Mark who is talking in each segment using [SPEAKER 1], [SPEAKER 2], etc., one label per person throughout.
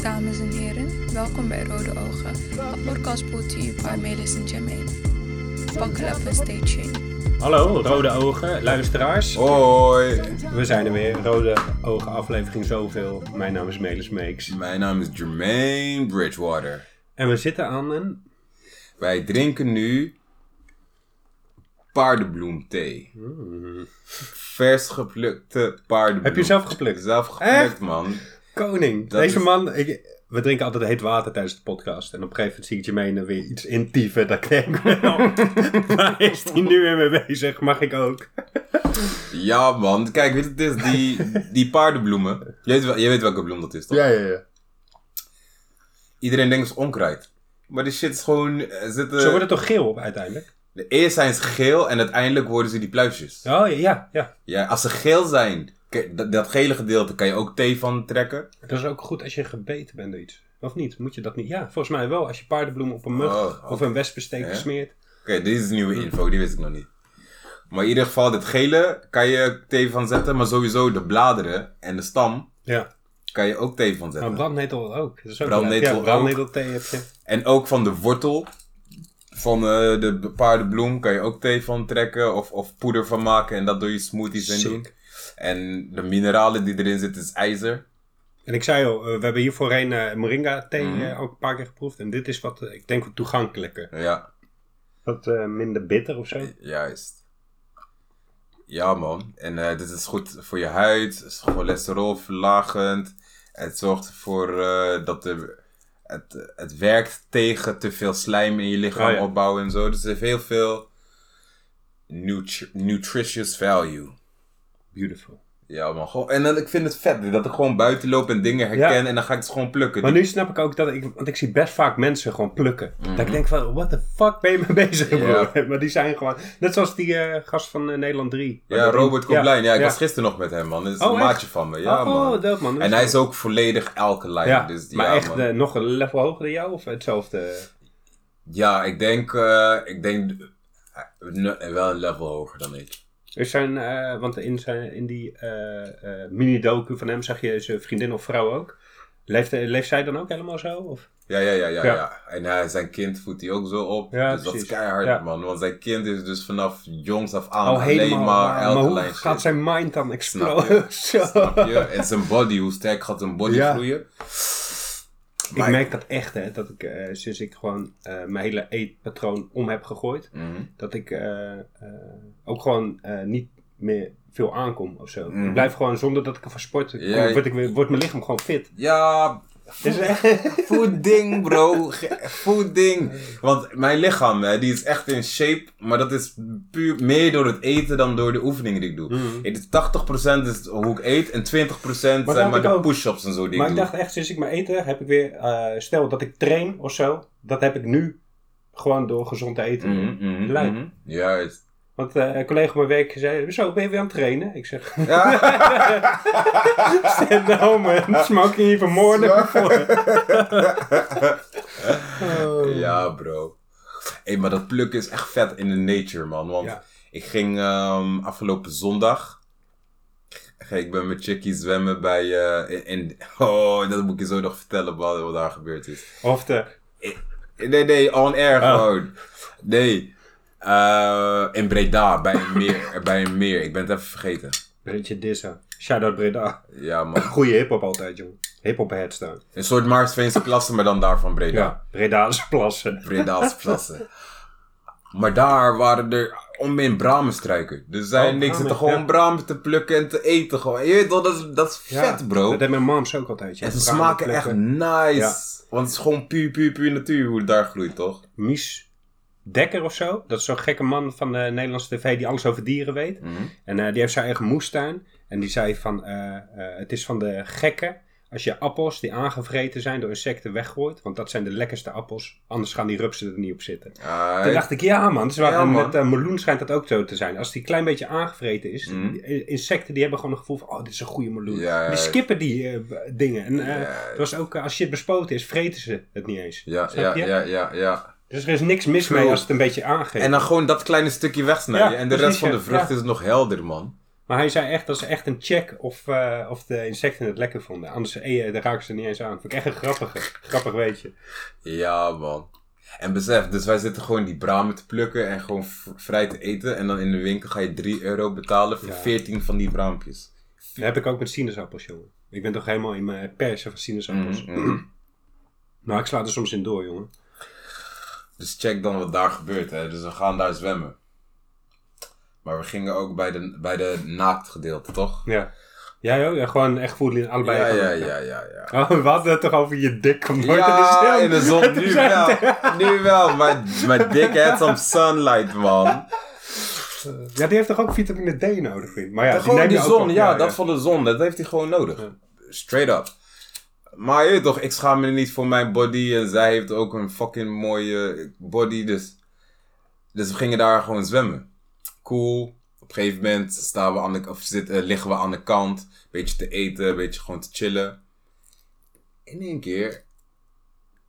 [SPEAKER 1] dames en heren. Welkom bij Rode Ogen, een podcast brought to you by Melis en Jermaine. Buckle up and stay tuned.
[SPEAKER 2] Hallo, Rode Ogen, luisteraars.
[SPEAKER 3] Hoi,
[SPEAKER 2] We zijn er weer, Rode Ogen, aflevering zoveel. Mijn naam is Melis Meeks.
[SPEAKER 3] mijn naam is Jermaine Bridgewater.
[SPEAKER 2] En we zitten aan een...
[SPEAKER 3] Wij drinken nu paardenbloemthee. Vers geplukte paardenbloem.
[SPEAKER 2] Heb je zelf geplukt?
[SPEAKER 3] Zelf geplukt,
[SPEAKER 2] Echt?
[SPEAKER 3] man.
[SPEAKER 2] Koning.
[SPEAKER 3] Dat
[SPEAKER 2] Deze
[SPEAKER 3] is-
[SPEAKER 2] man... ik- we drinken altijd heet water tijdens de podcast. En op een gegeven moment zie ik Jermaine weer iets intiever. Dat ik denk, nou, waar is die nu weer mee bezig? Mag ik ook?
[SPEAKER 3] Ja, man. Kijk, weet je wat het is? Die, die paardenbloemen. Je weet, wel- je weet welke bloem dat is, toch?
[SPEAKER 2] ja, ja.
[SPEAKER 3] Iedereen denkt het is onkruid. Maar die shit is gewoon... eh, Zitten...
[SPEAKER 2] Ze worden toch geel op uiteindelijk?
[SPEAKER 3] Eerst zijn ze geel en uiteindelijk worden ze die pluisjes. Ja.
[SPEAKER 2] Oh, ja, ja.
[SPEAKER 3] als ze geel zijn, k- dat, dat gele gedeelte kan je ook thee van trekken.
[SPEAKER 2] Dat is ook goed als je gebeten bent door iets. Of niet? Moet je dat niet? Ja, volgens mij wel. Als je paardenbloem op een mug
[SPEAKER 3] Oh,
[SPEAKER 2] of een wespensteek
[SPEAKER 3] Ja.
[SPEAKER 2] smeert.
[SPEAKER 3] Oké, dit is nieuwe info, die wist ik nog niet. Maar in ieder geval, dit gele kan je thee van zetten, maar sowieso de bladeren en de stam
[SPEAKER 2] Ja.
[SPEAKER 3] kan je ook thee van
[SPEAKER 2] Maar
[SPEAKER 3] zetten.
[SPEAKER 2] Nou, brandnetel ook. Dat is ook
[SPEAKER 3] Brandnetel
[SPEAKER 2] lekker. ja,
[SPEAKER 3] ook.
[SPEAKER 2] brandnetelthee heb je.
[SPEAKER 3] En ook van de wortel van eh, de paardenbloem kan je ook thee van trekken of, of poeder van maken en dat door je smoothies en
[SPEAKER 2] Sick.
[SPEAKER 3] doen. En de mineralen die erin zitten is ijzer.
[SPEAKER 2] En ik zei al, eh, we hebben hier voorheen eh, moringa thee
[SPEAKER 3] Mhm.
[SPEAKER 2] eh, ook een paar keer geproefd. En dit is wat, eh, ik denk, wat toegankelijker.
[SPEAKER 3] Ja,
[SPEAKER 2] Wat eh, minder bitter of zo.
[SPEAKER 3] juist. Ja man, en eh, dit is goed voor je huid, is cholesterolverlagend. Het zorgt ervoor eh, dat de, het, het werkt tegen te veel slijm in je lichaam
[SPEAKER 2] Ah, ja.
[SPEAKER 3] opbouwen en zo. Dus het heeft heel veel nutri- nutritious value.
[SPEAKER 2] Beautiful.
[SPEAKER 3] Ja man, gewoon, en dan, ik vind het vet dat ik gewoon buiten loop en dingen herken
[SPEAKER 2] Ja.
[SPEAKER 3] en dan ga ik het gewoon plukken.
[SPEAKER 2] Maar nu snap ik ook dat ik, want ik zie best vaak mensen gewoon plukken. Dat ik denk van, what the fuck ben je mee bezig
[SPEAKER 3] Mhm. Ja.
[SPEAKER 2] broer? Maar die zijn gewoon, net zoals die eh, gast van eh, Nederland 3.
[SPEAKER 3] ja, Robert Koblijn. Ja, ik
[SPEAKER 2] gisteren.
[SPEAKER 3] was gisteren nog met hem man. Dat is
[SPEAKER 2] Oh,
[SPEAKER 3] een
[SPEAKER 2] echt?
[SPEAKER 3] maatje van me. Ja
[SPEAKER 2] Oh,
[SPEAKER 3] man.
[SPEAKER 2] dope, man. Dat
[SPEAKER 3] En
[SPEAKER 2] is
[SPEAKER 3] hij is ook volledig alkaline.
[SPEAKER 2] Ja,
[SPEAKER 3] dus,
[SPEAKER 2] maar
[SPEAKER 3] ja,
[SPEAKER 2] echt
[SPEAKER 3] man.
[SPEAKER 2] eh, nog een level hoger dan jou of hetzelfde?
[SPEAKER 3] Ja, ik denk, eh, ik denk eh, ne- wel een level hoger dan ik.
[SPEAKER 2] Er zijn, eh, want in, zijn, in die eh, eh, mini-docu van hem zag je zijn vriendin of vrouw ook. Leeft, eh, leeft zij dan ook helemaal zo? Of?
[SPEAKER 3] Ja, ja, ja, ja.
[SPEAKER 2] Ja.
[SPEAKER 3] ja. En hij- zijn kind voedt hij ook zo op.
[SPEAKER 2] Ja,
[SPEAKER 3] dus dat is
[SPEAKER 2] precies.
[SPEAKER 3] keihard,
[SPEAKER 2] Ja.
[SPEAKER 3] man. Want zijn kind is dus vanaf jongs af aan
[SPEAKER 2] Oh, helemaal.
[SPEAKER 3] alleen maar
[SPEAKER 2] maar hoe
[SPEAKER 3] alkaline
[SPEAKER 2] gaat
[SPEAKER 3] shit.
[SPEAKER 2] zijn mind dan
[SPEAKER 3] Snap je?
[SPEAKER 2] exploden? Zo.
[SPEAKER 3] Snap je? En zijn body, hoe sterk gaat zijn body
[SPEAKER 2] Ja.
[SPEAKER 3] groeien?
[SPEAKER 2] Ik merk dat echt, hè. Dat ik, eh, sinds ik gewoon eh, mijn hele eetpatroon om heb gegooid.
[SPEAKER 3] Mhm.
[SPEAKER 2] Dat ik eh, eh, ook gewoon eh, niet meer veel aankom of zo. Ik blijf gewoon, zonder dat ik ervan sport,
[SPEAKER 3] Mhm. Ja,
[SPEAKER 2] kom- word, ik weer, wordt mijn lichaam gewoon fit.
[SPEAKER 3] Ja,
[SPEAKER 2] Is echt...
[SPEAKER 3] Food ding, bro. Ge- Food ding. Want mijn lichaam, hè, die is echt in shape. Maar dat is puur meer door het eten dan door de oefeningen die ik doe.
[SPEAKER 2] Mhm.
[SPEAKER 3] Het is 80% is hoe ik eet en 20% zijn
[SPEAKER 2] dacht
[SPEAKER 3] maar
[SPEAKER 2] ik
[SPEAKER 3] de
[SPEAKER 2] ook.
[SPEAKER 3] push-ups en zo die
[SPEAKER 2] Maar
[SPEAKER 3] ik
[SPEAKER 2] ik
[SPEAKER 3] doe.
[SPEAKER 2] dacht echt, sinds ik mijn eten heb ik weer, eh, stel dat ik train of zo, dat heb ik nu gewoon door gezond te eten.
[SPEAKER 3] Mhm, mhm,
[SPEAKER 2] Lijp.
[SPEAKER 3] mhm. Juist.
[SPEAKER 2] Want eh, een collega van mijn werk zei, zo ben je weer aan het trainen? Ik zeg,
[SPEAKER 3] Ja,
[SPEAKER 2] "Stand nou man, smoking even more than before." Oh.
[SPEAKER 3] ja bro. Hé, maar dat plukken is echt vet in de nature, man. Want
[SPEAKER 2] Ja.
[SPEAKER 3] ik ging ehm, afgelopen zondag. Ik ben met Chickie zwemmen bij. eh, in, in- oh, dat moet ik je zo nog vertellen wat, wat daar gebeurd is.
[SPEAKER 2] Of de,
[SPEAKER 3] Nee, nee, on air
[SPEAKER 2] Oh.
[SPEAKER 3] gewoon. Nee. Eh, in Breda, bij een, meer, bij een meer. Ik ben het even vergeten.
[SPEAKER 2] Brentje Dissa, shout-out Breda.
[SPEAKER 3] Ja, man.
[SPEAKER 2] Goeie hiphop altijd, jong. Hiphop headstone.
[SPEAKER 3] Een soort Maarsveense klasse, maar dan daar van Breda.
[SPEAKER 2] Ja, Breda's plassen.
[SPEAKER 3] Breda's klasse. Maar daar waren er onmin bramenstruiken. Dus zij
[SPEAKER 2] Oh,
[SPEAKER 3] en ik
[SPEAKER 2] bramen,
[SPEAKER 3] zitten gewoon
[SPEAKER 2] ja.
[SPEAKER 3] bramen te plukken en te eten. Gewoon. Je weet wel, dat is, dat is
[SPEAKER 2] Ja,
[SPEAKER 3] vet, bro.
[SPEAKER 2] Dat deed mijn moms ook altijd, ja.
[SPEAKER 3] En ze
[SPEAKER 2] Bramen
[SPEAKER 3] smaken echt
[SPEAKER 2] plukken.
[SPEAKER 3] nice.
[SPEAKER 2] Ja.
[SPEAKER 3] Want het is gewoon puur, puur, puur natuur hoe het daar groeit, toch?
[SPEAKER 2] Mies Dekker of zo. Dat is zo'n gekke man van de Nederlandse tv die alles over dieren weet. En eh, die heeft zijn eigen moestuin. En die zei van, eh, eh, het is van de gekken als je appels die aangevreten zijn door insecten weggooit. Want dat zijn de lekkerste appels. Anders gaan die rupsen er niet op zitten.
[SPEAKER 3] Ah,
[SPEAKER 2] Toen dacht ik, ja man, dus
[SPEAKER 3] Ja, man.
[SPEAKER 2] met eh, meloen schijnt dat ook zo te zijn. Als die klein beetje aangevreten is,
[SPEAKER 3] Mhm.
[SPEAKER 2] die i- insecten die hebben gewoon een gevoel van, oh dit is een goede meloen.
[SPEAKER 3] Ja, ja,
[SPEAKER 2] die
[SPEAKER 3] ja.
[SPEAKER 2] skippen die eh, b- dingen. En eh,
[SPEAKER 3] Ja.
[SPEAKER 2] het was ook, eh, als shit bespoten is, vreten ze het niet eens.
[SPEAKER 3] ja,
[SPEAKER 2] Snap
[SPEAKER 3] ja,
[SPEAKER 2] je?
[SPEAKER 3] ja, ja, ja.
[SPEAKER 2] Dus er is niks mis
[SPEAKER 3] True.
[SPEAKER 2] mee als het een beetje aangeeft.
[SPEAKER 3] En dan gewoon dat kleine stukje wegsnijden.
[SPEAKER 2] Ja,
[SPEAKER 3] en de
[SPEAKER 2] precies,
[SPEAKER 3] rest van
[SPEAKER 2] ja.
[SPEAKER 3] de vrucht
[SPEAKER 2] Ja.
[SPEAKER 3] is nog helder, man.
[SPEAKER 2] Maar hij zei echt, dat is echt een check of, eh, of de insecten het lekker vonden. Anders eh, daar raken ze niet eens aan. Vind ik echt een grappige, grappig weetje.
[SPEAKER 3] Ja, man. En besef, dus wij zitten gewoon die bramen te plukken en gewoon v- vrij te eten. En dan in de winkel ga je 3 euro betalen voor
[SPEAKER 2] Ja.
[SPEAKER 3] 14 van die braampjes.
[SPEAKER 2] Dat heb ik ook met sinaasappels, jongen. Ik ben toch helemaal in mijn persen van sinaasappels.
[SPEAKER 3] Mm.
[SPEAKER 2] Nou, ik sla er soms in door, jongen.
[SPEAKER 3] Dus check dan wat daar gebeurt, hè. Dus we gaan daar zwemmen. Maar we gingen ook bij de, bij de naaktgedeelte, toch?
[SPEAKER 2] Ja. Ja, joh, ja, gewoon echt voelen in allebei.
[SPEAKER 3] Ja,
[SPEAKER 2] van-
[SPEAKER 3] ja, ja, ja, ja.
[SPEAKER 2] Oh, we hadden het toch over je dik komt nooit
[SPEAKER 3] Ja, in
[SPEAKER 2] in de
[SPEAKER 3] de
[SPEAKER 2] zin.
[SPEAKER 3] zon. Nu wel. Nu wel. Mijn, mijn dik had some sunlight, man.
[SPEAKER 2] Ja, die heeft toch ook vitamine D nodig, vind ik. Maar ja, die
[SPEAKER 3] gewoon
[SPEAKER 2] neem je
[SPEAKER 3] die
[SPEAKER 2] ook
[SPEAKER 3] zon.
[SPEAKER 2] op.
[SPEAKER 3] Ja, dat van de zon. Dat heeft hij gewoon nodig. Straight up. Maar je weet toch, ik schaam me niet voor mijn body. En zij heeft ook een fucking mooie body. Dus, dus we gingen daar gewoon zwemmen. Cool. Op een gegeven moment staan we aan de, of zitten, liggen we aan de kant. Een beetje te eten, een beetje gewoon te chillen. In één keer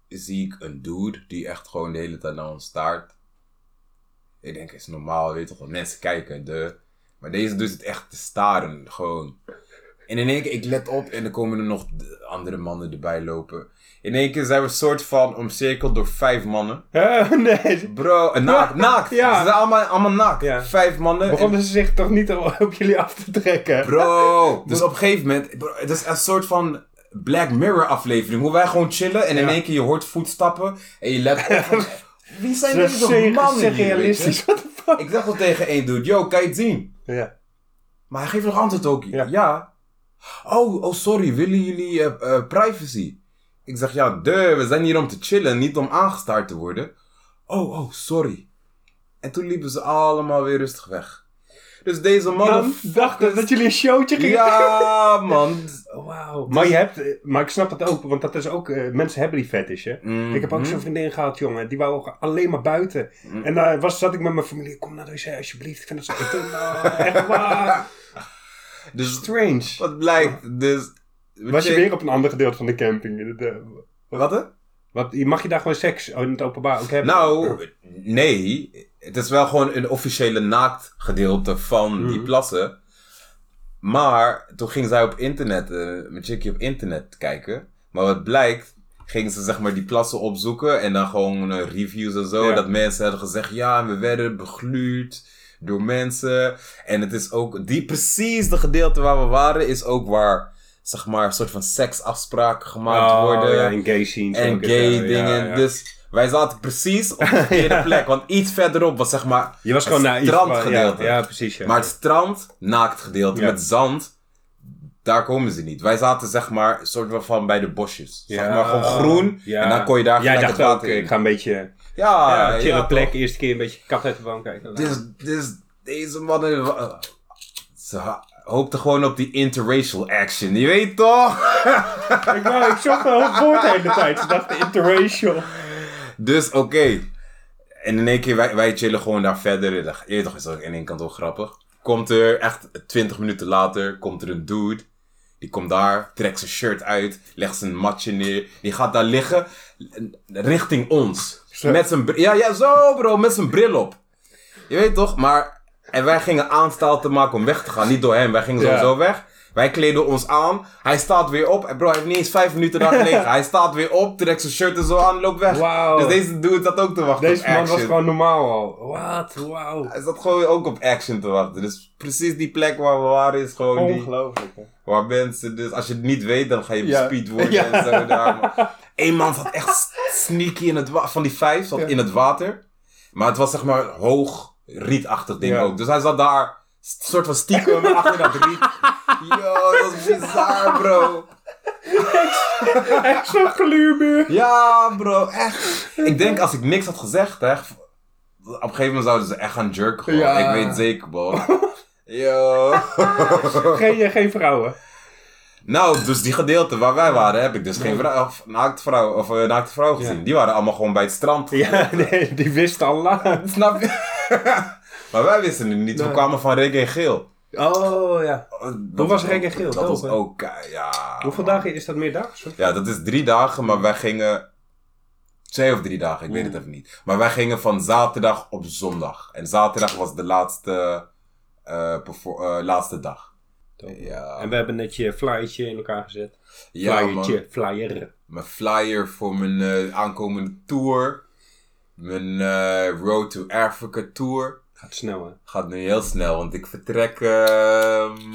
[SPEAKER 3] zie ik een dude die echt gewoon de hele tijd naar ons staart. Ik denk, is normaal, weet je toch, mensen kijken, de. Maar deze doet het echt te staren, gewoon. En in één keer, ik let op en er komen er nog d- andere mannen erbij lopen. In één keer zijn we soort van omcirkeld door vijf mannen.
[SPEAKER 2] Eh, nee.
[SPEAKER 3] Bro, eh, naakt, naakt.
[SPEAKER 2] Ja.
[SPEAKER 3] Ze zijn allemaal, allemaal naakt.
[SPEAKER 2] Ja.
[SPEAKER 3] Vijf mannen. en-
[SPEAKER 2] Begonnen ze zich toch niet op jullie af te trekken?
[SPEAKER 3] Bro, dus op een gegeven moment, bro, het is een soort van Black Mirror aflevering. Hoe wij gewoon chillen en in
[SPEAKER 2] Ja.
[SPEAKER 3] één keer je hoort voetstappen en je let op. van, Wie zijn
[SPEAKER 2] Ze
[SPEAKER 3] deze
[SPEAKER 2] zijn
[SPEAKER 3] mannen hier,
[SPEAKER 2] realistisch.
[SPEAKER 3] weet
[SPEAKER 2] What the
[SPEAKER 3] je?
[SPEAKER 2] fuck?
[SPEAKER 3] Ik dacht al tegen één dude, yo, kan je het zien?
[SPEAKER 2] Ja.
[SPEAKER 3] Maar hij geeft nog antwoord ook. Ja.
[SPEAKER 2] Ja.
[SPEAKER 3] Oh, oh, sorry, willen jullie eh, eh, privacy? Ik zeg, ja, duh, we zijn hier om te chillen, niet om aangestaard te worden. Oh, oh, sorry. En toen liepen ze allemaal weer rustig weg. Dus deze
[SPEAKER 2] Man,
[SPEAKER 3] mannen...
[SPEAKER 2] dachten dat jullie een showtje gingen
[SPEAKER 3] Ja, man.
[SPEAKER 2] Wauw. Maar, je hebt, eh, maar ik snap het ook, want dat is ook, eh, mensen hebben die fetish, hè.
[SPEAKER 3] Mhm.
[SPEAKER 2] Ik heb ook zo'n vriendin gehad, jongen, die wou ook alleen maar buiten.
[SPEAKER 3] Mhm.
[SPEAKER 2] En daar was, zat ik met mijn familie, kom naar deze, alsjeblieft, ik vind dat zo ik doe- nou, echt waar.
[SPEAKER 3] Dus
[SPEAKER 2] Strange.
[SPEAKER 3] wat blijkt, dus...
[SPEAKER 2] Was je weer op een ander gedeelte van de camping? De- de-
[SPEAKER 3] Wat, hè?
[SPEAKER 2] Wat, mag je daar gewoon seks in het openbaar ook hebben?
[SPEAKER 3] Nou, nee. Het is wel gewoon een officiële naaktgedeelte van
[SPEAKER 2] Mhm.
[SPEAKER 3] die plassen. Maar toen ging zij op internet, eh met Jackie op internet kijken. Maar wat blijkt, gingen ze zeg maar die plassen opzoeken en dan gewoon eh, reviews en zo.
[SPEAKER 2] Ja.
[SPEAKER 3] Dat mensen hadden gezegd, ja, we werden begluurd door mensen. En het is ook, die precies de gedeelte waar we waren, is ook waar, zeg maar, een soort van seksafspraken gemaakt
[SPEAKER 2] Oh,
[SPEAKER 3] worden.
[SPEAKER 2] ja, en gay scenes.
[SPEAKER 3] En
[SPEAKER 2] ook,
[SPEAKER 3] gay
[SPEAKER 2] ja,
[SPEAKER 3] dingen.
[SPEAKER 2] ja, ja.
[SPEAKER 3] Dus wij zaten precies op de verkeerde plek. Want iets verderop was zeg maar
[SPEAKER 2] je was gewoon
[SPEAKER 3] het
[SPEAKER 2] naïef.
[SPEAKER 3] strandgedeelte.
[SPEAKER 2] Ja, ja, precies. Ja.
[SPEAKER 3] Maar het strand, naakt gedeelte
[SPEAKER 2] Ja.
[SPEAKER 3] met zand, daar komen ze niet. Wij zaten zeg maar soort van bij de bosjes. Zeg
[SPEAKER 2] Ja.
[SPEAKER 3] maar gewoon groen.
[SPEAKER 2] Ja.
[SPEAKER 3] En dan kon je daar
[SPEAKER 2] Jij
[SPEAKER 3] gelijk
[SPEAKER 2] dacht
[SPEAKER 3] het
[SPEAKER 2] ook,
[SPEAKER 3] water in.
[SPEAKER 2] ik ga een beetje...
[SPEAKER 3] Ja,
[SPEAKER 2] Ja,
[SPEAKER 3] ja,
[SPEAKER 2] chille
[SPEAKER 3] toch.
[SPEAKER 2] plek, eerste keer een beetje kat uit de boom kijken.
[SPEAKER 3] Dus, dus deze mannen... wa- Ze ha- hoopten gewoon op die interracial action. Je weet toch?
[SPEAKER 2] ik, wou, ik zocht al het woord de hele tijd. Ze dachten interracial.
[SPEAKER 3] Dus oké. En in één keer, wij, wij chillen gewoon daar verder. En dan- Je weet toch, is dat in één kant wel grappig. Komt er, echt 20 minuten later, komt er een dude. Die komt daar, trekt zijn shirt uit, legt zijn matje neer. Die gaat daar liggen, richting ons.
[SPEAKER 2] Zo.
[SPEAKER 3] Met zijn bril. Ja, ja, zo bro, met zijn bril op. Je weet toch, maar... En wij gingen aanstaal te maken om weg te gaan. Niet door hem, wij gingen
[SPEAKER 2] Ja.
[SPEAKER 3] sowieso weg. Wij kleden ons aan. Hij staat weer op. En bro, hij heeft niet eens vijf minuten daar gelegen. hij staat weer op, trekt zijn shirt er zo aan, loopt weg.
[SPEAKER 2] Wauw.
[SPEAKER 3] Dus deze dude zat ook te wachten
[SPEAKER 2] Deze
[SPEAKER 3] op
[SPEAKER 2] man
[SPEAKER 3] action.
[SPEAKER 2] was gewoon normaal al. Wat? Wauw.
[SPEAKER 3] Hij zat gewoon ook op action te wachten. Dus precies die plek waar we waren is gewoon die...
[SPEAKER 2] Ongelooflijk. hè.
[SPEAKER 3] Waar mensen dus... Als je het niet weet, dan ga je
[SPEAKER 2] Ja.
[SPEAKER 3] bespeed worden
[SPEAKER 2] Ja.
[SPEAKER 3] en zo daar. Maar Eén man zat echt s- sneaky in het water. Van die vijf zat
[SPEAKER 2] Ja.
[SPEAKER 3] in het water. Maar het was zeg maar hoog, rietachtig ding
[SPEAKER 2] Ja.
[SPEAKER 3] ook. Dus hij zat daar s- soort van stiekem achter dat riet. Yo, dat is bizar, bro.
[SPEAKER 2] Echt zo'n gluurmuur.
[SPEAKER 3] Ja, bro, echt. Ik denk als ik niks had gezegd, hè, op een gegeven moment zouden ze echt gaan jerken. Gewoon.
[SPEAKER 2] Ja.
[SPEAKER 3] Ik weet het zeker, bro. Yo.
[SPEAKER 2] Geen, eh, geen vrouwen.
[SPEAKER 3] nou, dus die gedeelte waar wij waren, heb ik dus geen vrouw, of naakte vrouw, of, eh, naakte vrouw gezien. Die waren allemaal gewoon bij het strand.
[SPEAKER 2] Ja, nee, die wisten al lang.
[SPEAKER 3] Snap je? maar wij wisten het niet. We
[SPEAKER 2] Nee.
[SPEAKER 3] kwamen van Reggae Geel.
[SPEAKER 2] Oh ja.
[SPEAKER 3] Dat
[SPEAKER 2] was
[SPEAKER 3] ook-
[SPEAKER 2] Reggae Geel?
[SPEAKER 3] Dat
[SPEAKER 2] Dope,
[SPEAKER 3] was
[SPEAKER 2] hè?
[SPEAKER 3] ook, kei- ja.
[SPEAKER 2] Hoeveel dagen is dat meer dagen?
[SPEAKER 3] Ja, dat is drie dagen, maar wij gingen. Twee of drie dagen, ik weet het even niet. Maar wij gingen van zaterdag op zondag. En zaterdag was de laatste eh, perfor- eh, laatste dag.
[SPEAKER 2] Top.
[SPEAKER 3] Ja.
[SPEAKER 2] En we hebben net je flyertje in elkaar gezet.
[SPEAKER 3] Ja, man.
[SPEAKER 2] Flyertje, flyer.
[SPEAKER 3] Mijn flyer voor mijn eh, aankomende tour. Mijn eh, Road to Africa tour.
[SPEAKER 2] Gaat snel hè.
[SPEAKER 3] Gaat nu heel snel, want ik vertrek ehm,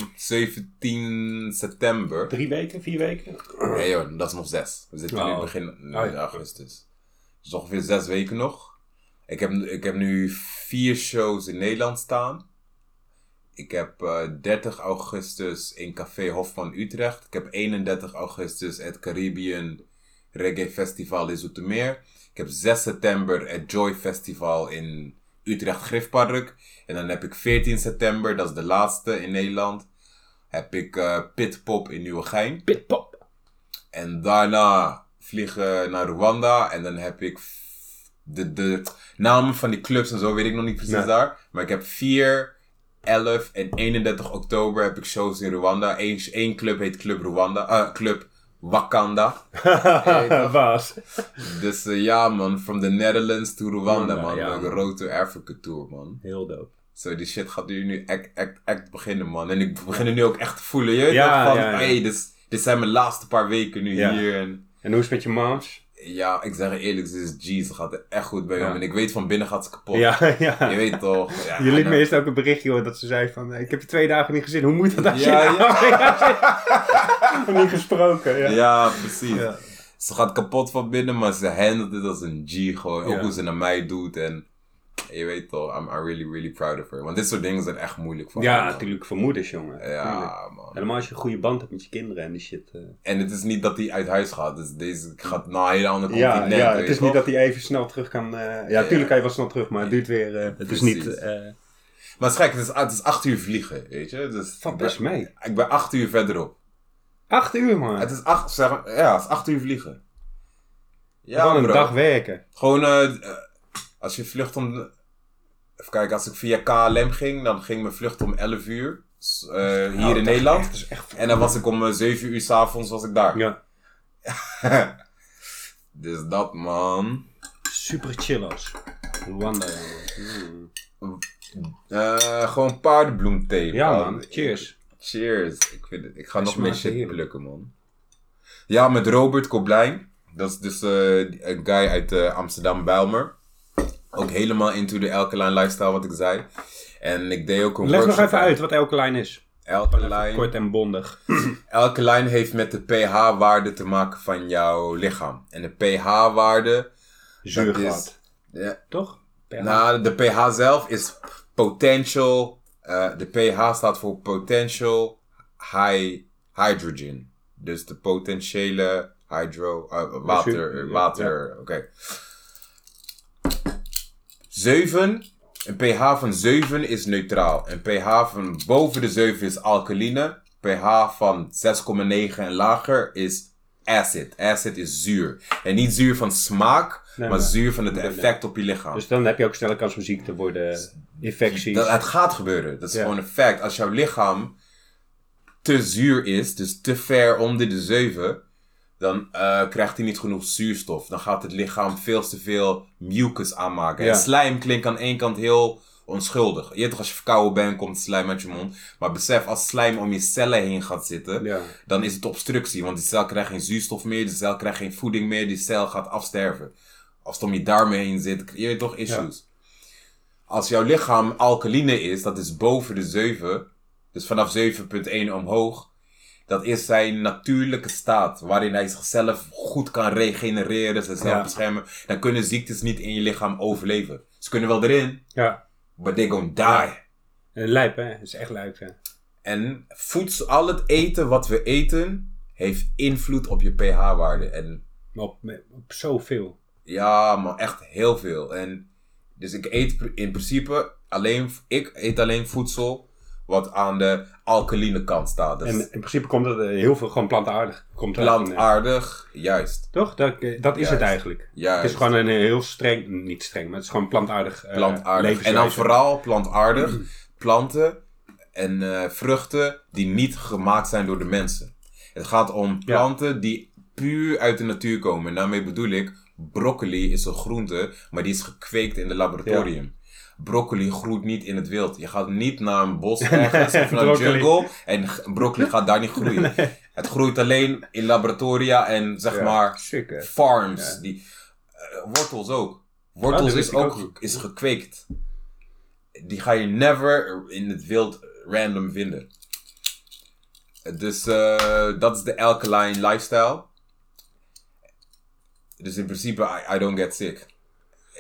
[SPEAKER 3] 17 september.
[SPEAKER 2] Drie weken, vier weken?
[SPEAKER 3] Nee joh, dat is nog zes. We zitten nu
[SPEAKER 2] Oh.
[SPEAKER 3] begin nu
[SPEAKER 2] Oh, ja.
[SPEAKER 3] augustus. Dus ongeveer zes weken nog. Ik heb, ik heb nu vier shows in Nederland staan. Ik heb eh, 30 augustus in Café Hof van Utrecht. Ik heb 31 augustus het Caribbean Reggae Festival in Zoetermeer. Ik heb 6 september het Joy Festival in Utrecht Grifpark. En dan heb ik 14 september, dat is de laatste in Nederland. Heb ik eh Pitpop in Nieuwegein.
[SPEAKER 2] Pitpop.
[SPEAKER 3] En daarna vliegen naar Rwanda. En dan heb ik f- de, de namen van die clubs en zo weet ik nog niet precies
[SPEAKER 2] Nee.
[SPEAKER 3] daar. Maar ik heb 4, 11 en 31 oktober heb ik shows in Rwanda. Eén één club heet Club Rwanda. eh, club Wakanda.
[SPEAKER 2] Baas.
[SPEAKER 3] Dus eh, ja man, from the Netherlands to Rwanda
[SPEAKER 2] Rwanda,
[SPEAKER 3] man.
[SPEAKER 2] ja,
[SPEAKER 3] Like
[SPEAKER 2] man.
[SPEAKER 3] Road to Africa tour man.
[SPEAKER 2] Heel dope.
[SPEAKER 3] Zo, die shit gaat nu, nu echt, echt, echt beginnen, man. En ik begin er nu ook echt te voelen. Je weet
[SPEAKER 2] Ja,
[SPEAKER 3] toch, van,
[SPEAKER 2] ja, ja.
[SPEAKER 3] hey, dit, is- dit zijn mijn laatste paar weken nu
[SPEAKER 2] Ja.
[SPEAKER 3] hier. En
[SPEAKER 2] En hoe is het met je moms?
[SPEAKER 3] ja, ik zeg je eerlijk, ze is G. Ze gaat er echt goed bij
[SPEAKER 2] Ja.
[SPEAKER 3] om. En ik weet van binnen gaat ze kapot.
[SPEAKER 2] Ja, ja.
[SPEAKER 3] Je weet toch. Ja, nou.
[SPEAKER 2] Je liet me
[SPEAKER 3] en-
[SPEAKER 2] eerst ook een berichtje hoor dat ze zei van... eh, Ik heb je twee dagen niet gezien. Hoe moet dat als je
[SPEAKER 3] Ja,
[SPEAKER 2] nou-
[SPEAKER 3] ja.
[SPEAKER 2] Van niet gesproken. Ja.
[SPEAKER 3] Ja, precies.
[SPEAKER 2] Ja.
[SPEAKER 3] Ze gaat kapot van binnen, maar ze handelt dit als een G gewoon. Ook
[SPEAKER 2] Ja.
[SPEAKER 3] hoe ze naar mij doet. En je weet toch, I'm, I'm really, really proud of her. Want dit soort dingen zijn echt moeilijk voor haar,
[SPEAKER 2] Ja,
[SPEAKER 3] man.
[SPEAKER 2] natuurlijk voor moeders, jongen. Tuurlijk.
[SPEAKER 3] Ja, man.
[SPEAKER 2] Helemaal als je een goede band hebt met je kinderen en die shit. eh.
[SPEAKER 3] En het is niet dat hij uit huis gaat. Dus deze gaat naar een hele andere
[SPEAKER 2] Ja,
[SPEAKER 3] continent.
[SPEAKER 2] ja, het
[SPEAKER 3] weet
[SPEAKER 2] is
[SPEAKER 3] je
[SPEAKER 2] niet
[SPEAKER 3] toch?
[SPEAKER 2] dat hij even snel terug kan. eh, ja,
[SPEAKER 3] Ja.
[SPEAKER 2] tuurlijk kan je wel snel terug, maar het duurt weer. eh, het is niet.
[SPEAKER 3] Precies.
[SPEAKER 2] eh,
[SPEAKER 3] Maar het is gek, het is, het is acht uur vliegen, weet je. Dus
[SPEAKER 2] valt
[SPEAKER 3] ik ben-
[SPEAKER 2] best mee.
[SPEAKER 3] Ik ben acht uur verderop.
[SPEAKER 2] Acht uur, man.
[SPEAKER 3] Het is acht, zeg, maar- ja, het is acht uur vliegen. Ja,
[SPEAKER 2] Gewoon een
[SPEAKER 3] bro.
[SPEAKER 2] dag werken.
[SPEAKER 3] Gewoon, eh, eh, als je vlucht om... Even kijken, als ik via KLM ging, dan ging mijn vlucht om 11 uur. s- eh, hier
[SPEAKER 2] Nou,
[SPEAKER 3] in
[SPEAKER 2] dat
[SPEAKER 3] Nederland.
[SPEAKER 2] echt- dat is echt-
[SPEAKER 3] En dan was ik om eh, 7 uur s'avonds was ik daar.
[SPEAKER 2] Ja,
[SPEAKER 3] Dus dat, man.
[SPEAKER 2] super chillos. Rwanda, jongen. Mm.
[SPEAKER 3] Eh, gewoon paardenbloemthee.
[SPEAKER 2] Ja, man. Cheers.
[SPEAKER 3] Cheers. Ik, vind het, ik ga nog meer
[SPEAKER 2] smaakt
[SPEAKER 3] shit
[SPEAKER 2] heerlijk.
[SPEAKER 3] plukken, man. Ja, met Robert Koblijn. Dat is dus eh, een guy uit eh, Amsterdam Bijlmer. Ook helemaal into the alkaline lifestyle, wat ik zei. En ik deed ook een
[SPEAKER 2] Leg nog
[SPEAKER 3] workshop
[SPEAKER 2] even
[SPEAKER 3] aan
[SPEAKER 2] uit wat alkaline is.
[SPEAKER 3] Alkaline.
[SPEAKER 2] Kort en bondig.
[SPEAKER 3] Alkaline heeft met de pH-waarde te maken van jouw lichaam. En de pH-waarde...
[SPEAKER 2] Zuurgat.
[SPEAKER 3] Ja,
[SPEAKER 2] Toch? Ja.
[SPEAKER 3] Nou, de pH zelf is potential. eh, de pH staat voor potential high hydrogen. Dus de potentiële hydro. eh, water.
[SPEAKER 2] zuur-
[SPEAKER 3] eh,
[SPEAKER 2] ja,
[SPEAKER 3] water. Oké. 7. Een pH van 7 is neutraal. Een pH van boven de 7 is alkaline. pH van 6,9 en lager is acid. Acid is zuur. En niet zuur van smaak,
[SPEAKER 2] Nee,
[SPEAKER 3] maar
[SPEAKER 2] maar-
[SPEAKER 3] zuur van het
[SPEAKER 2] nee.
[SPEAKER 3] effect op je lichaam.
[SPEAKER 2] Dus dan heb je ook sneller kans om ziek te worden, infecties.
[SPEAKER 3] Dat, het gaat gebeuren. Dat is
[SPEAKER 2] Ja.
[SPEAKER 3] gewoon een fact. Als jouw lichaam te zuur is, dus te ver onder de 7, dan eh, krijgt hij niet genoeg zuurstof. Dan gaat het lichaam veel te veel mucus aanmaken.
[SPEAKER 2] Ja.
[SPEAKER 3] En slijm klinkt aan één kant heel onschuldig. Je weet toch, als je verkouden bent, komt slijm uit je mond. Maar besef, als slijm om je cellen heen gaat zitten,
[SPEAKER 2] Ja.
[SPEAKER 3] dan is het obstructie. Want die cel krijgt geen zuurstof meer, die cel krijgt geen voeding meer, die cel gaat afsterven. Als het om je darmen heen zit, je weet toch issues. Als jouw lichaam alkaline is, dat is boven de 7, dus vanaf 7.1 omhoog, dat is zijn natuurlijke staat waarin hij zichzelf goed kan regenereren, zichzelf
[SPEAKER 2] Ja.
[SPEAKER 3] beschermen. Dan kunnen ziektes niet in je lichaam overleven. Ze kunnen wel erin,
[SPEAKER 2] ja.
[SPEAKER 3] but they gonna die.
[SPEAKER 2] Eh, Lijp, hè? Het is echt lijp, hè?
[SPEAKER 3] En voedsel, al het eten wat we eten, heeft invloed op je pH-waarde. En
[SPEAKER 2] Maar op, op zoveel.
[SPEAKER 3] ja, maar echt heel veel. En dus ik eet pr- in principe alleen, ik eet alleen voedsel wat aan de alkaline kant staat. Dus
[SPEAKER 2] En in principe komt dat eh, heel veel gewoon plantaardig. Komt eruit. eh.
[SPEAKER 3] plantaardig, juist.
[SPEAKER 2] Toch? Dat, eh, dat is het
[SPEAKER 3] Juist.
[SPEAKER 2] eigenlijk.
[SPEAKER 3] Juist.
[SPEAKER 2] Het is gewoon een eh, heel streng, niet streng, maar het is gewoon plantaardig. Mm. eh,
[SPEAKER 3] plantaardig. en
[SPEAKER 2] levenswijze.
[SPEAKER 3] dan vooral plantaardig, planten en eh, vruchten die niet gemaakt zijn door de mensen. Het gaat om planten die puur uit de natuur komen. En daarmee bedoel ik, broccoli is een groente, maar die is gekweekt in het laboratorium. broccoli groeit niet in het wild. Je gaat niet naar een bos ergens of naar een
[SPEAKER 2] broccoli.
[SPEAKER 3] jungle en g- broccoli gaat daar niet groeien. Het groeit alleen in laboratoria en zeg
[SPEAKER 2] Ja.
[SPEAKER 3] maar
[SPEAKER 2] Schikken.
[SPEAKER 3] farms. Die, eh, wortels ook.
[SPEAKER 2] Ah,
[SPEAKER 3] Wortels
[SPEAKER 2] dat wist
[SPEAKER 3] is
[SPEAKER 2] ik
[SPEAKER 3] ook
[SPEAKER 2] ook
[SPEAKER 3] ge- is gekweekt. Die ga je never in het wild random vinden. Dus eh, dat is de alkaline lifestyle. Dus in principe, I, I don't get sick.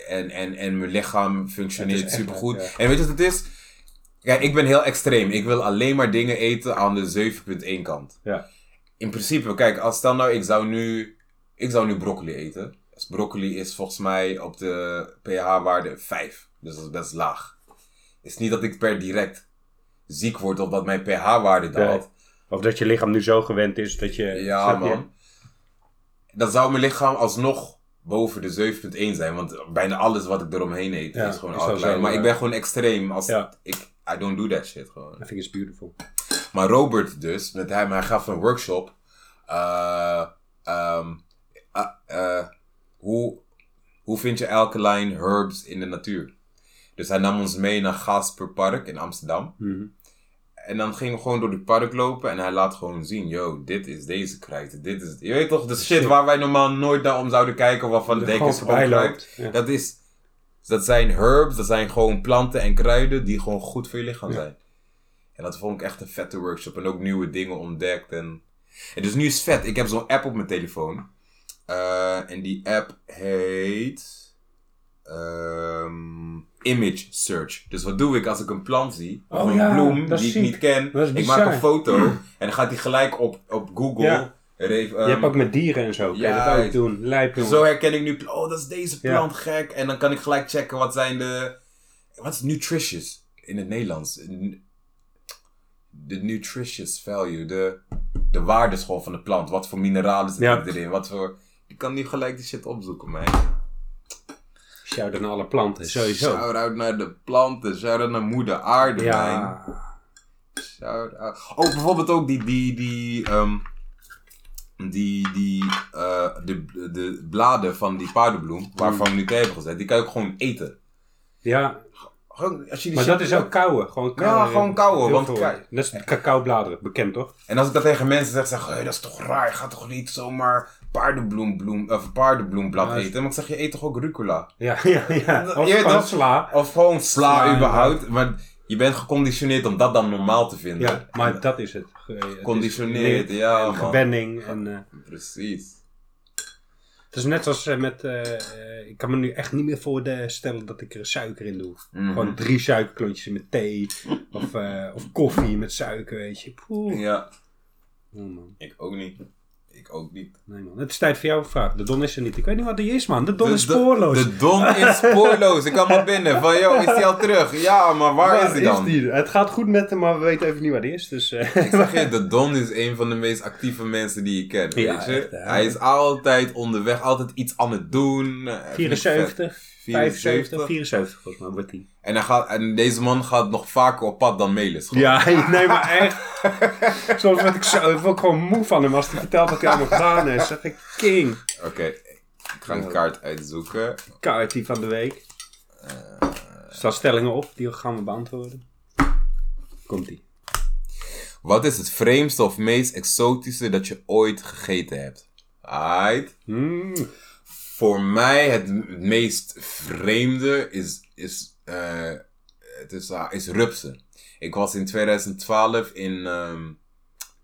[SPEAKER 3] En, en, en mijn lichaam
[SPEAKER 2] Het
[SPEAKER 3] functioneert
[SPEAKER 2] is echt,
[SPEAKER 3] supergoed.
[SPEAKER 2] ja.
[SPEAKER 3] En weet je wat het is? Kijk, ik ben heel extreem. Ik wil alleen maar dingen eten aan de 7.1 kant.
[SPEAKER 2] Ja.
[SPEAKER 3] In principe, kijk, als stel nou, ik zou nu, ik zou nu broccoli eten. Dus broccoli is volgens mij op de pH-waarde 5. Dus dat is best laag. is niet dat ik per direct ziek word of dat mijn pH-waarde daalt.
[SPEAKER 2] Nee. Of dat je lichaam nu zo gewend is dat je...
[SPEAKER 3] Ja,
[SPEAKER 2] snap je?
[SPEAKER 3] man. Dan zou mijn lichaam alsnog boven de 7.1 zijn. Want bijna alles wat ik eromheen eet
[SPEAKER 2] Ja,
[SPEAKER 3] is gewoon
[SPEAKER 2] is wel
[SPEAKER 3] alkaline.
[SPEAKER 2] zo,
[SPEAKER 3] Maar
[SPEAKER 2] ja.
[SPEAKER 3] ik ben gewoon extreem. Als
[SPEAKER 2] Ja.
[SPEAKER 3] ik, I don't do that shit gewoon.
[SPEAKER 2] I think it's beautiful.
[SPEAKER 3] Maar Robert dus, met hem, hij gaf een workshop. eh, ehm, eh, eh, hoe, hoe vind je alkaline herbs in de natuur? Dus hij nam ons mee naar Gasper Park in Amsterdam.
[SPEAKER 2] Mhm.
[SPEAKER 3] En dan gingen we gewoon door het park lopen en hij laat gewoon zien, yo, dit is deze kruid, dit is... Je weet toch, de shit
[SPEAKER 2] Shit.
[SPEAKER 3] waar wij normaal nooit naar om zouden kijken, waarvan de
[SPEAKER 2] Gewoon
[SPEAKER 3] dekens
[SPEAKER 2] voorbij
[SPEAKER 3] voorbij
[SPEAKER 2] loopt. Ja.
[SPEAKER 3] Dat is... Dat zijn herbs, dat zijn gewoon planten en kruiden die gewoon goed voor je lichaam zijn. En dat vond ik echt een vette workshop. En ook nieuwe dingen ontdekt. En, en dus nu is het vet. Ik heb zo'n app op mijn telefoon. Eh, en die app heet... ehm, image Search. Dus wat doe ik als ik een plant zie? Of
[SPEAKER 2] Oh
[SPEAKER 3] een
[SPEAKER 2] ja,
[SPEAKER 3] bloem
[SPEAKER 2] dat
[SPEAKER 3] die ik
[SPEAKER 2] zie
[SPEAKER 3] niet
[SPEAKER 2] ik.
[SPEAKER 3] ken.
[SPEAKER 2] Dat is
[SPEAKER 3] Ik
[SPEAKER 2] bizar. Mm.
[SPEAKER 3] maak een foto. En dan gaat die gelijk op, op Google.
[SPEAKER 2] Ja.
[SPEAKER 3] Er heeft,
[SPEAKER 2] je hebt
[SPEAKER 3] ehm,
[SPEAKER 2] ook met dieren en zo. Kun je
[SPEAKER 3] ja,
[SPEAKER 2] dat ook
[SPEAKER 3] het-
[SPEAKER 2] doen. Lijp, jongen.
[SPEAKER 3] zo herken ik nu, pla- oh, dat is deze
[SPEAKER 2] Ja.
[SPEAKER 3] plant gek. En dan kan ik gelijk checken wat zijn de. Wat is nutritious in het Nederlands? N- De nutritious value, de, de waardes gewoon van de plant. Wat voor mineralen zitten
[SPEAKER 2] Ja.
[SPEAKER 3] erin? Wat voor. Ik kan nu gelijk die shit opzoeken, man.
[SPEAKER 2] Shout aan alle planten, sowieso.
[SPEAKER 3] Shout out naar de planten, shout out naar moeder aarde, man.
[SPEAKER 2] Ja.
[SPEAKER 3] Shout out. Oh, bijvoorbeeld ook die. die, die ehm, die, die, eh, de, de bladen van die paardenbloem, waarvan
[SPEAKER 2] Hmm.
[SPEAKER 3] we nu thee hebben gezet, die kan je ook gewoon eten.
[SPEAKER 2] ja,
[SPEAKER 3] Gewoon, als je die
[SPEAKER 2] maar
[SPEAKER 3] shit-
[SPEAKER 2] dat is ook kauwen. Gewoon kauwen.
[SPEAKER 3] Ja, gewoon kauwen,
[SPEAKER 2] Heel
[SPEAKER 3] want
[SPEAKER 2] veel.
[SPEAKER 3] kijk-
[SPEAKER 2] Dat is cacaobladeren, bekend toch?
[SPEAKER 3] En als ik dat tegen mensen zeg, zeggen hey, dat is toch raar, je gaat toch niet zomaar paardenbloembloem, of paardenbloemblad
[SPEAKER 2] Ja, is-
[SPEAKER 3] eten? Maar ik zeg, je eet toch ook rucola?
[SPEAKER 2] Ja, ja, ja.
[SPEAKER 3] Je
[SPEAKER 2] Of
[SPEAKER 3] weet
[SPEAKER 2] gewoon
[SPEAKER 3] toch-
[SPEAKER 2] sla.
[SPEAKER 3] Of gewoon sla,
[SPEAKER 2] Sla,
[SPEAKER 3] überhaupt, maar je bent geconditioneerd om dat dan normaal te vinden.
[SPEAKER 2] Ja, maar dat is het. Ge- het is
[SPEAKER 3] Conditioneerd,
[SPEAKER 2] geleerd
[SPEAKER 3] ja,
[SPEAKER 2] en
[SPEAKER 3] man.
[SPEAKER 2] Gewenning. En, eh,
[SPEAKER 3] Precies.
[SPEAKER 2] het is net als eh, met... eh, eh, ik kan me nu echt niet meer voorstellen dat ik er suiker in doe.
[SPEAKER 3] Mhm.
[SPEAKER 2] Gewoon drie suikerklontjes met thee. of, eh, of koffie met suiker, weet je. Poeh.
[SPEAKER 3] Ja,
[SPEAKER 2] Nee, man.
[SPEAKER 3] ik ook niet. Ik ook niet.
[SPEAKER 2] Nee, man. Het is tijd voor jouw vraag. De Don is er niet. Ik weet niet wat die is, man. De Don
[SPEAKER 3] De-
[SPEAKER 2] is spoorloos.
[SPEAKER 3] De, de Don is spoorloos. Ik kan maar binnen. Van, joh, is hij al terug? Ja, maar waar, is hij dan?
[SPEAKER 2] die? Het gaat goed met hem, maar we weten even niet waar die is. Dus, eh,
[SPEAKER 3] Ik zeg je, de Don is een van de meest actieve mensen die ik ken.
[SPEAKER 2] Ja,
[SPEAKER 3] weet je?
[SPEAKER 2] echt, hè?
[SPEAKER 3] hij is altijd onderweg, altijd iets aan het doen. Eh, vind ik
[SPEAKER 2] 74,
[SPEAKER 3] vet.
[SPEAKER 2] 75, 74 volgens mij wordt die.
[SPEAKER 3] En, hij gaat, en deze man gaat nog vaker op pad dan Melis. gewoon.
[SPEAKER 2] Ja, nee, maar echt. Soms word ik, zo, word ik gewoon moe van hem als hij vertelt dat hij allemaal gedaan is. Zeg ik, king.
[SPEAKER 3] Oké, ik ga een kaart uitzoeken.
[SPEAKER 2] Kaartie van de week. Er staan stellingen op, die gaan we beantwoorden. Komt-ie.
[SPEAKER 3] Wat is het vreemdste of meest exotische dat je ooit gegeten hebt? Aight.
[SPEAKER 2] Mm.
[SPEAKER 3] Voor mij het m- meest vreemde is, is, eh, het is, ah, is rupsen. Ik was in 2012 in ehm,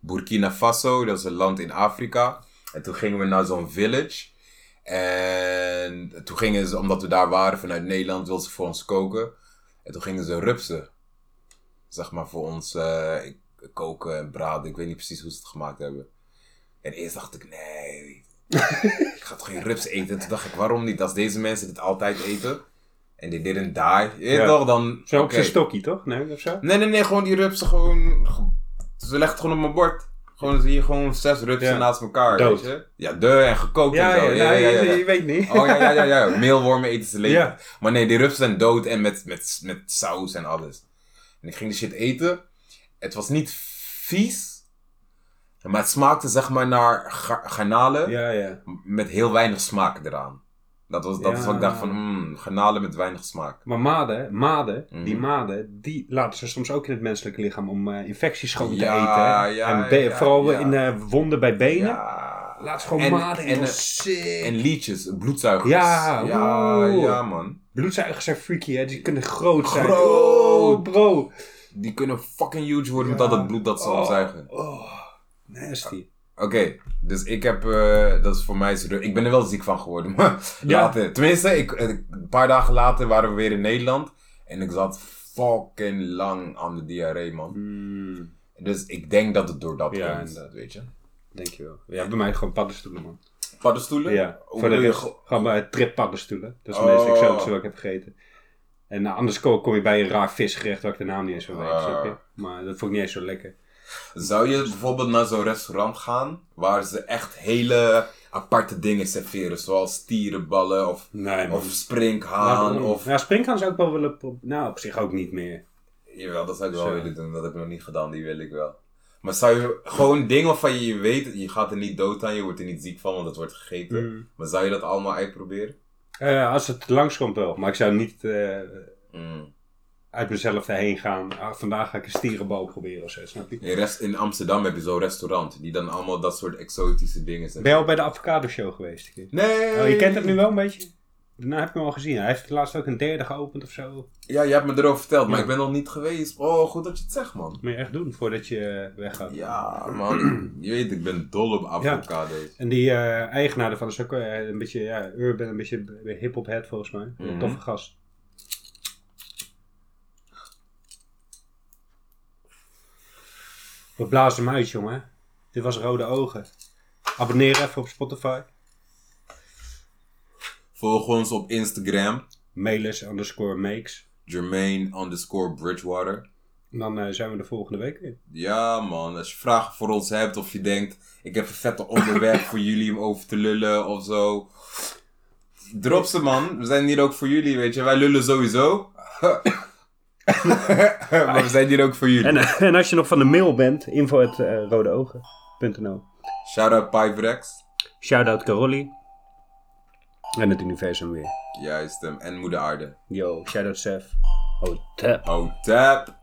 [SPEAKER 3] Burkina Faso, dat is een land in Afrika. En toen gingen we naar zo'n village. En toen gingen ze, omdat we daar waren vanuit Nederland, wilden ze voor ons koken. En toen gingen ze rupsen. Zeg maar voor ons eh, koken en braden. Ik weet niet precies hoe ze het gemaakt hebben. En eerst dacht ik, nee, ik ga toch geen rups eten? Toen dacht ik, waarom niet? Als deze mensen dit altijd eten en they didn't die, je weet
[SPEAKER 2] Ja.
[SPEAKER 3] toch, dan...
[SPEAKER 2] Zo op
[SPEAKER 3] oké.
[SPEAKER 2] zijn stokkie, toch? Nee, of zo?
[SPEAKER 3] Nee, nee, nee, gewoon die rupsen gewoon. ge- Ze legt het gewoon op mijn bord. Gewoon zie je gewoon zes rupsen
[SPEAKER 2] Ja.
[SPEAKER 3] naast elkaar.
[SPEAKER 2] Dood.
[SPEAKER 3] Weet je? Ja, de en gekookt en zo. Ja, ja, ja, ja.
[SPEAKER 2] je weet niet.
[SPEAKER 3] Oh ja, ja, ja, ja. Meelwormen eten ze leven.
[SPEAKER 2] Ja.
[SPEAKER 3] Maar nee, die rupsen zijn dood en met, met, met saus en alles. En ik ging die shit eten. Het was niet vies. Maar het smaakte zeg maar naar ga- garnalen
[SPEAKER 2] Ja, ja.
[SPEAKER 3] met heel weinig smaak eraan. Dat, was, dat is wat ik dacht van, mm, garnalen met weinig smaak.
[SPEAKER 2] Maar maden, maden, die
[SPEAKER 3] Mhm.
[SPEAKER 2] maden, die laten ze soms ook in het menselijke lichaam om eh, infecties gewoon te
[SPEAKER 3] Ja,
[SPEAKER 2] eten.
[SPEAKER 3] ja,
[SPEAKER 2] en be-
[SPEAKER 3] ja,
[SPEAKER 2] vooral
[SPEAKER 3] ja.
[SPEAKER 2] in eh, wonden bij benen.
[SPEAKER 3] Ja.
[SPEAKER 2] Laat ze gewoon
[SPEAKER 3] En-
[SPEAKER 2] maden in.
[SPEAKER 3] en,
[SPEAKER 2] En,
[SPEAKER 3] eh, En liedjes, bloedzuigers.
[SPEAKER 2] Ja,
[SPEAKER 3] ja,
[SPEAKER 2] oeh.
[SPEAKER 3] ja, man.
[SPEAKER 2] Bloedzuigers zijn freaky, hè? Die kunnen groot zijn.
[SPEAKER 3] Groot!
[SPEAKER 2] Oh, bro.
[SPEAKER 3] Die kunnen fucking huge worden
[SPEAKER 2] Ja.
[SPEAKER 3] met al dat bloed dat ze
[SPEAKER 2] Oh.
[SPEAKER 3] opzuigen.
[SPEAKER 2] Oh, nasty.
[SPEAKER 3] Oké, dus ik heb, eh, dat is voor mij zo. Ik ben er wel ziek van geworden, maar
[SPEAKER 2] Ja.
[SPEAKER 3] later. Tenminste, ik, eh, een paar dagen later waren we weer in Nederland en ik zat fucking lang aan de diarree, man.
[SPEAKER 2] Mm,
[SPEAKER 3] Dus ik denk dat het door dat
[SPEAKER 2] Ja,
[SPEAKER 3] komt,
[SPEAKER 2] inderdaad.
[SPEAKER 3] weet je.
[SPEAKER 2] denk je wel. Ja, bij mij gewoon paddenstoelen, man.
[SPEAKER 3] Paddenstoelen?
[SPEAKER 2] Ja,
[SPEAKER 3] Hoe
[SPEAKER 2] voor de
[SPEAKER 3] bedoel je
[SPEAKER 2] rest.
[SPEAKER 3] ge-
[SPEAKER 2] Gewoon bij trip paddenstoelen. Dat is
[SPEAKER 3] Oh.
[SPEAKER 2] het meest exotische wat ik heb gegeten. En nou, anders ko- kom je bij een raar visgerecht waar ik de naam niet eens van weet,
[SPEAKER 3] Ah.
[SPEAKER 2] snap je? Maar dat vond ik niet eens zo lekker.
[SPEAKER 3] Zou je bijvoorbeeld naar zo'n restaurant gaan waar ze echt hele aparte dingen serveren, zoals tierenballen of,
[SPEAKER 2] Nee,
[SPEAKER 3] of
[SPEAKER 2] Ja,
[SPEAKER 3] sprinkhaan of...
[SPEAKER 2] Nou, springhaan zou ik wel willen pro- Nou, op zich ook niet meer.
[SPEAKER 3] Jawel, dat zou ik wel
[SPEAKER 2] Zo.
[SPEAKER 3] willen doen. Dat heb ik nog niet gedaan, die wil ik wel. Maar zou je gewoon dingen waarvan je weet, je gaat er niet dood aan, je wordt er niet ziek van, want het wordt gegeten.
[SPEAKER 2] Mm.
[SPEAKER 3] Maar zou je dat allemaal uitproberen?
[SPEAKER 2] Eh, als het langskomt wel, maar ik zou niet eh,
[SPEAKER 3] Mm.
[SPEAKER 2] uit mezelf daarheen gaan. Ah, vandaag ga ik een stierenbal proberen of zo, snap je?
[SPEAKER 3] In, rest, in Amsterdam heb je zo'n restaurant, die dan allemaal dat soort exotische dingen zijn.
[SPEAKER 2] Ben je al bij de avocado show geweest? een keer?
[SPEAKER 3] Nee!
[SPEAKER 2] Oh, je kent het nu wel een beetje? Daarna heb ik hem al gezien. Hij heeft laatst ook een derde geopend of zo.
[SPEAKER 3] Ja, je hebt me erover verteld, maar
[SPEAKER 2] Ja.
[SPEAKER 3] ik ben nog niet geweest. Oh, goed dat je het zegt, man.
[SPEAKER 2] Moet je echt doen voordat je eh, weggaat.
[SPEAKER 3] Ja, man. Je weet, ik ben dol op avocado's.
[SPEAKER 2] En die eh, eigenaar daarvan is ook eh, een beetje ja, urban, een beetje hip-hop head volgens mij. Een
[SPEAKER 3] Mhm.
[SPEAKER 2] Toffe gast. We blazen hem uit, jongen. Dit was Rode Ogen. Abonneer even op Spotify.
[SPEAKER 3] Volg ons op Instagram,
[SPEAKER 2] Mailers underscore makes.
[SPEAKER 3] Jermaine underscore Bridgewater.
[SPEAKER 2] En dan eh, zijn we de volgende week weer.
[SPEAKER 3] Ja, man. Als je vragen voor ons hebt of je denkt, ik heb een vette onderwerp voor jullie om over te lullen of zo. Drop ze, man. We zijn hier ook voor jullie, weet je. Wij lullen sowieso. maar we zijn hier ook voor jullie.
[SPEAKER 2] En, eh, en als je nog van de mail bent, info at eh, rodeogen.nl.
[SPEAKER 3] Shout-out Piperex.
[SPEAKER 2] Shoutout Carolli. En het universum weer.
[SPEAKER 3] Juist hem. En Moeder Aarde.
[SPEAKER 2] Yo, shoutout Seth. Oh, tap.
[SPEAKER 3] Oh, tap.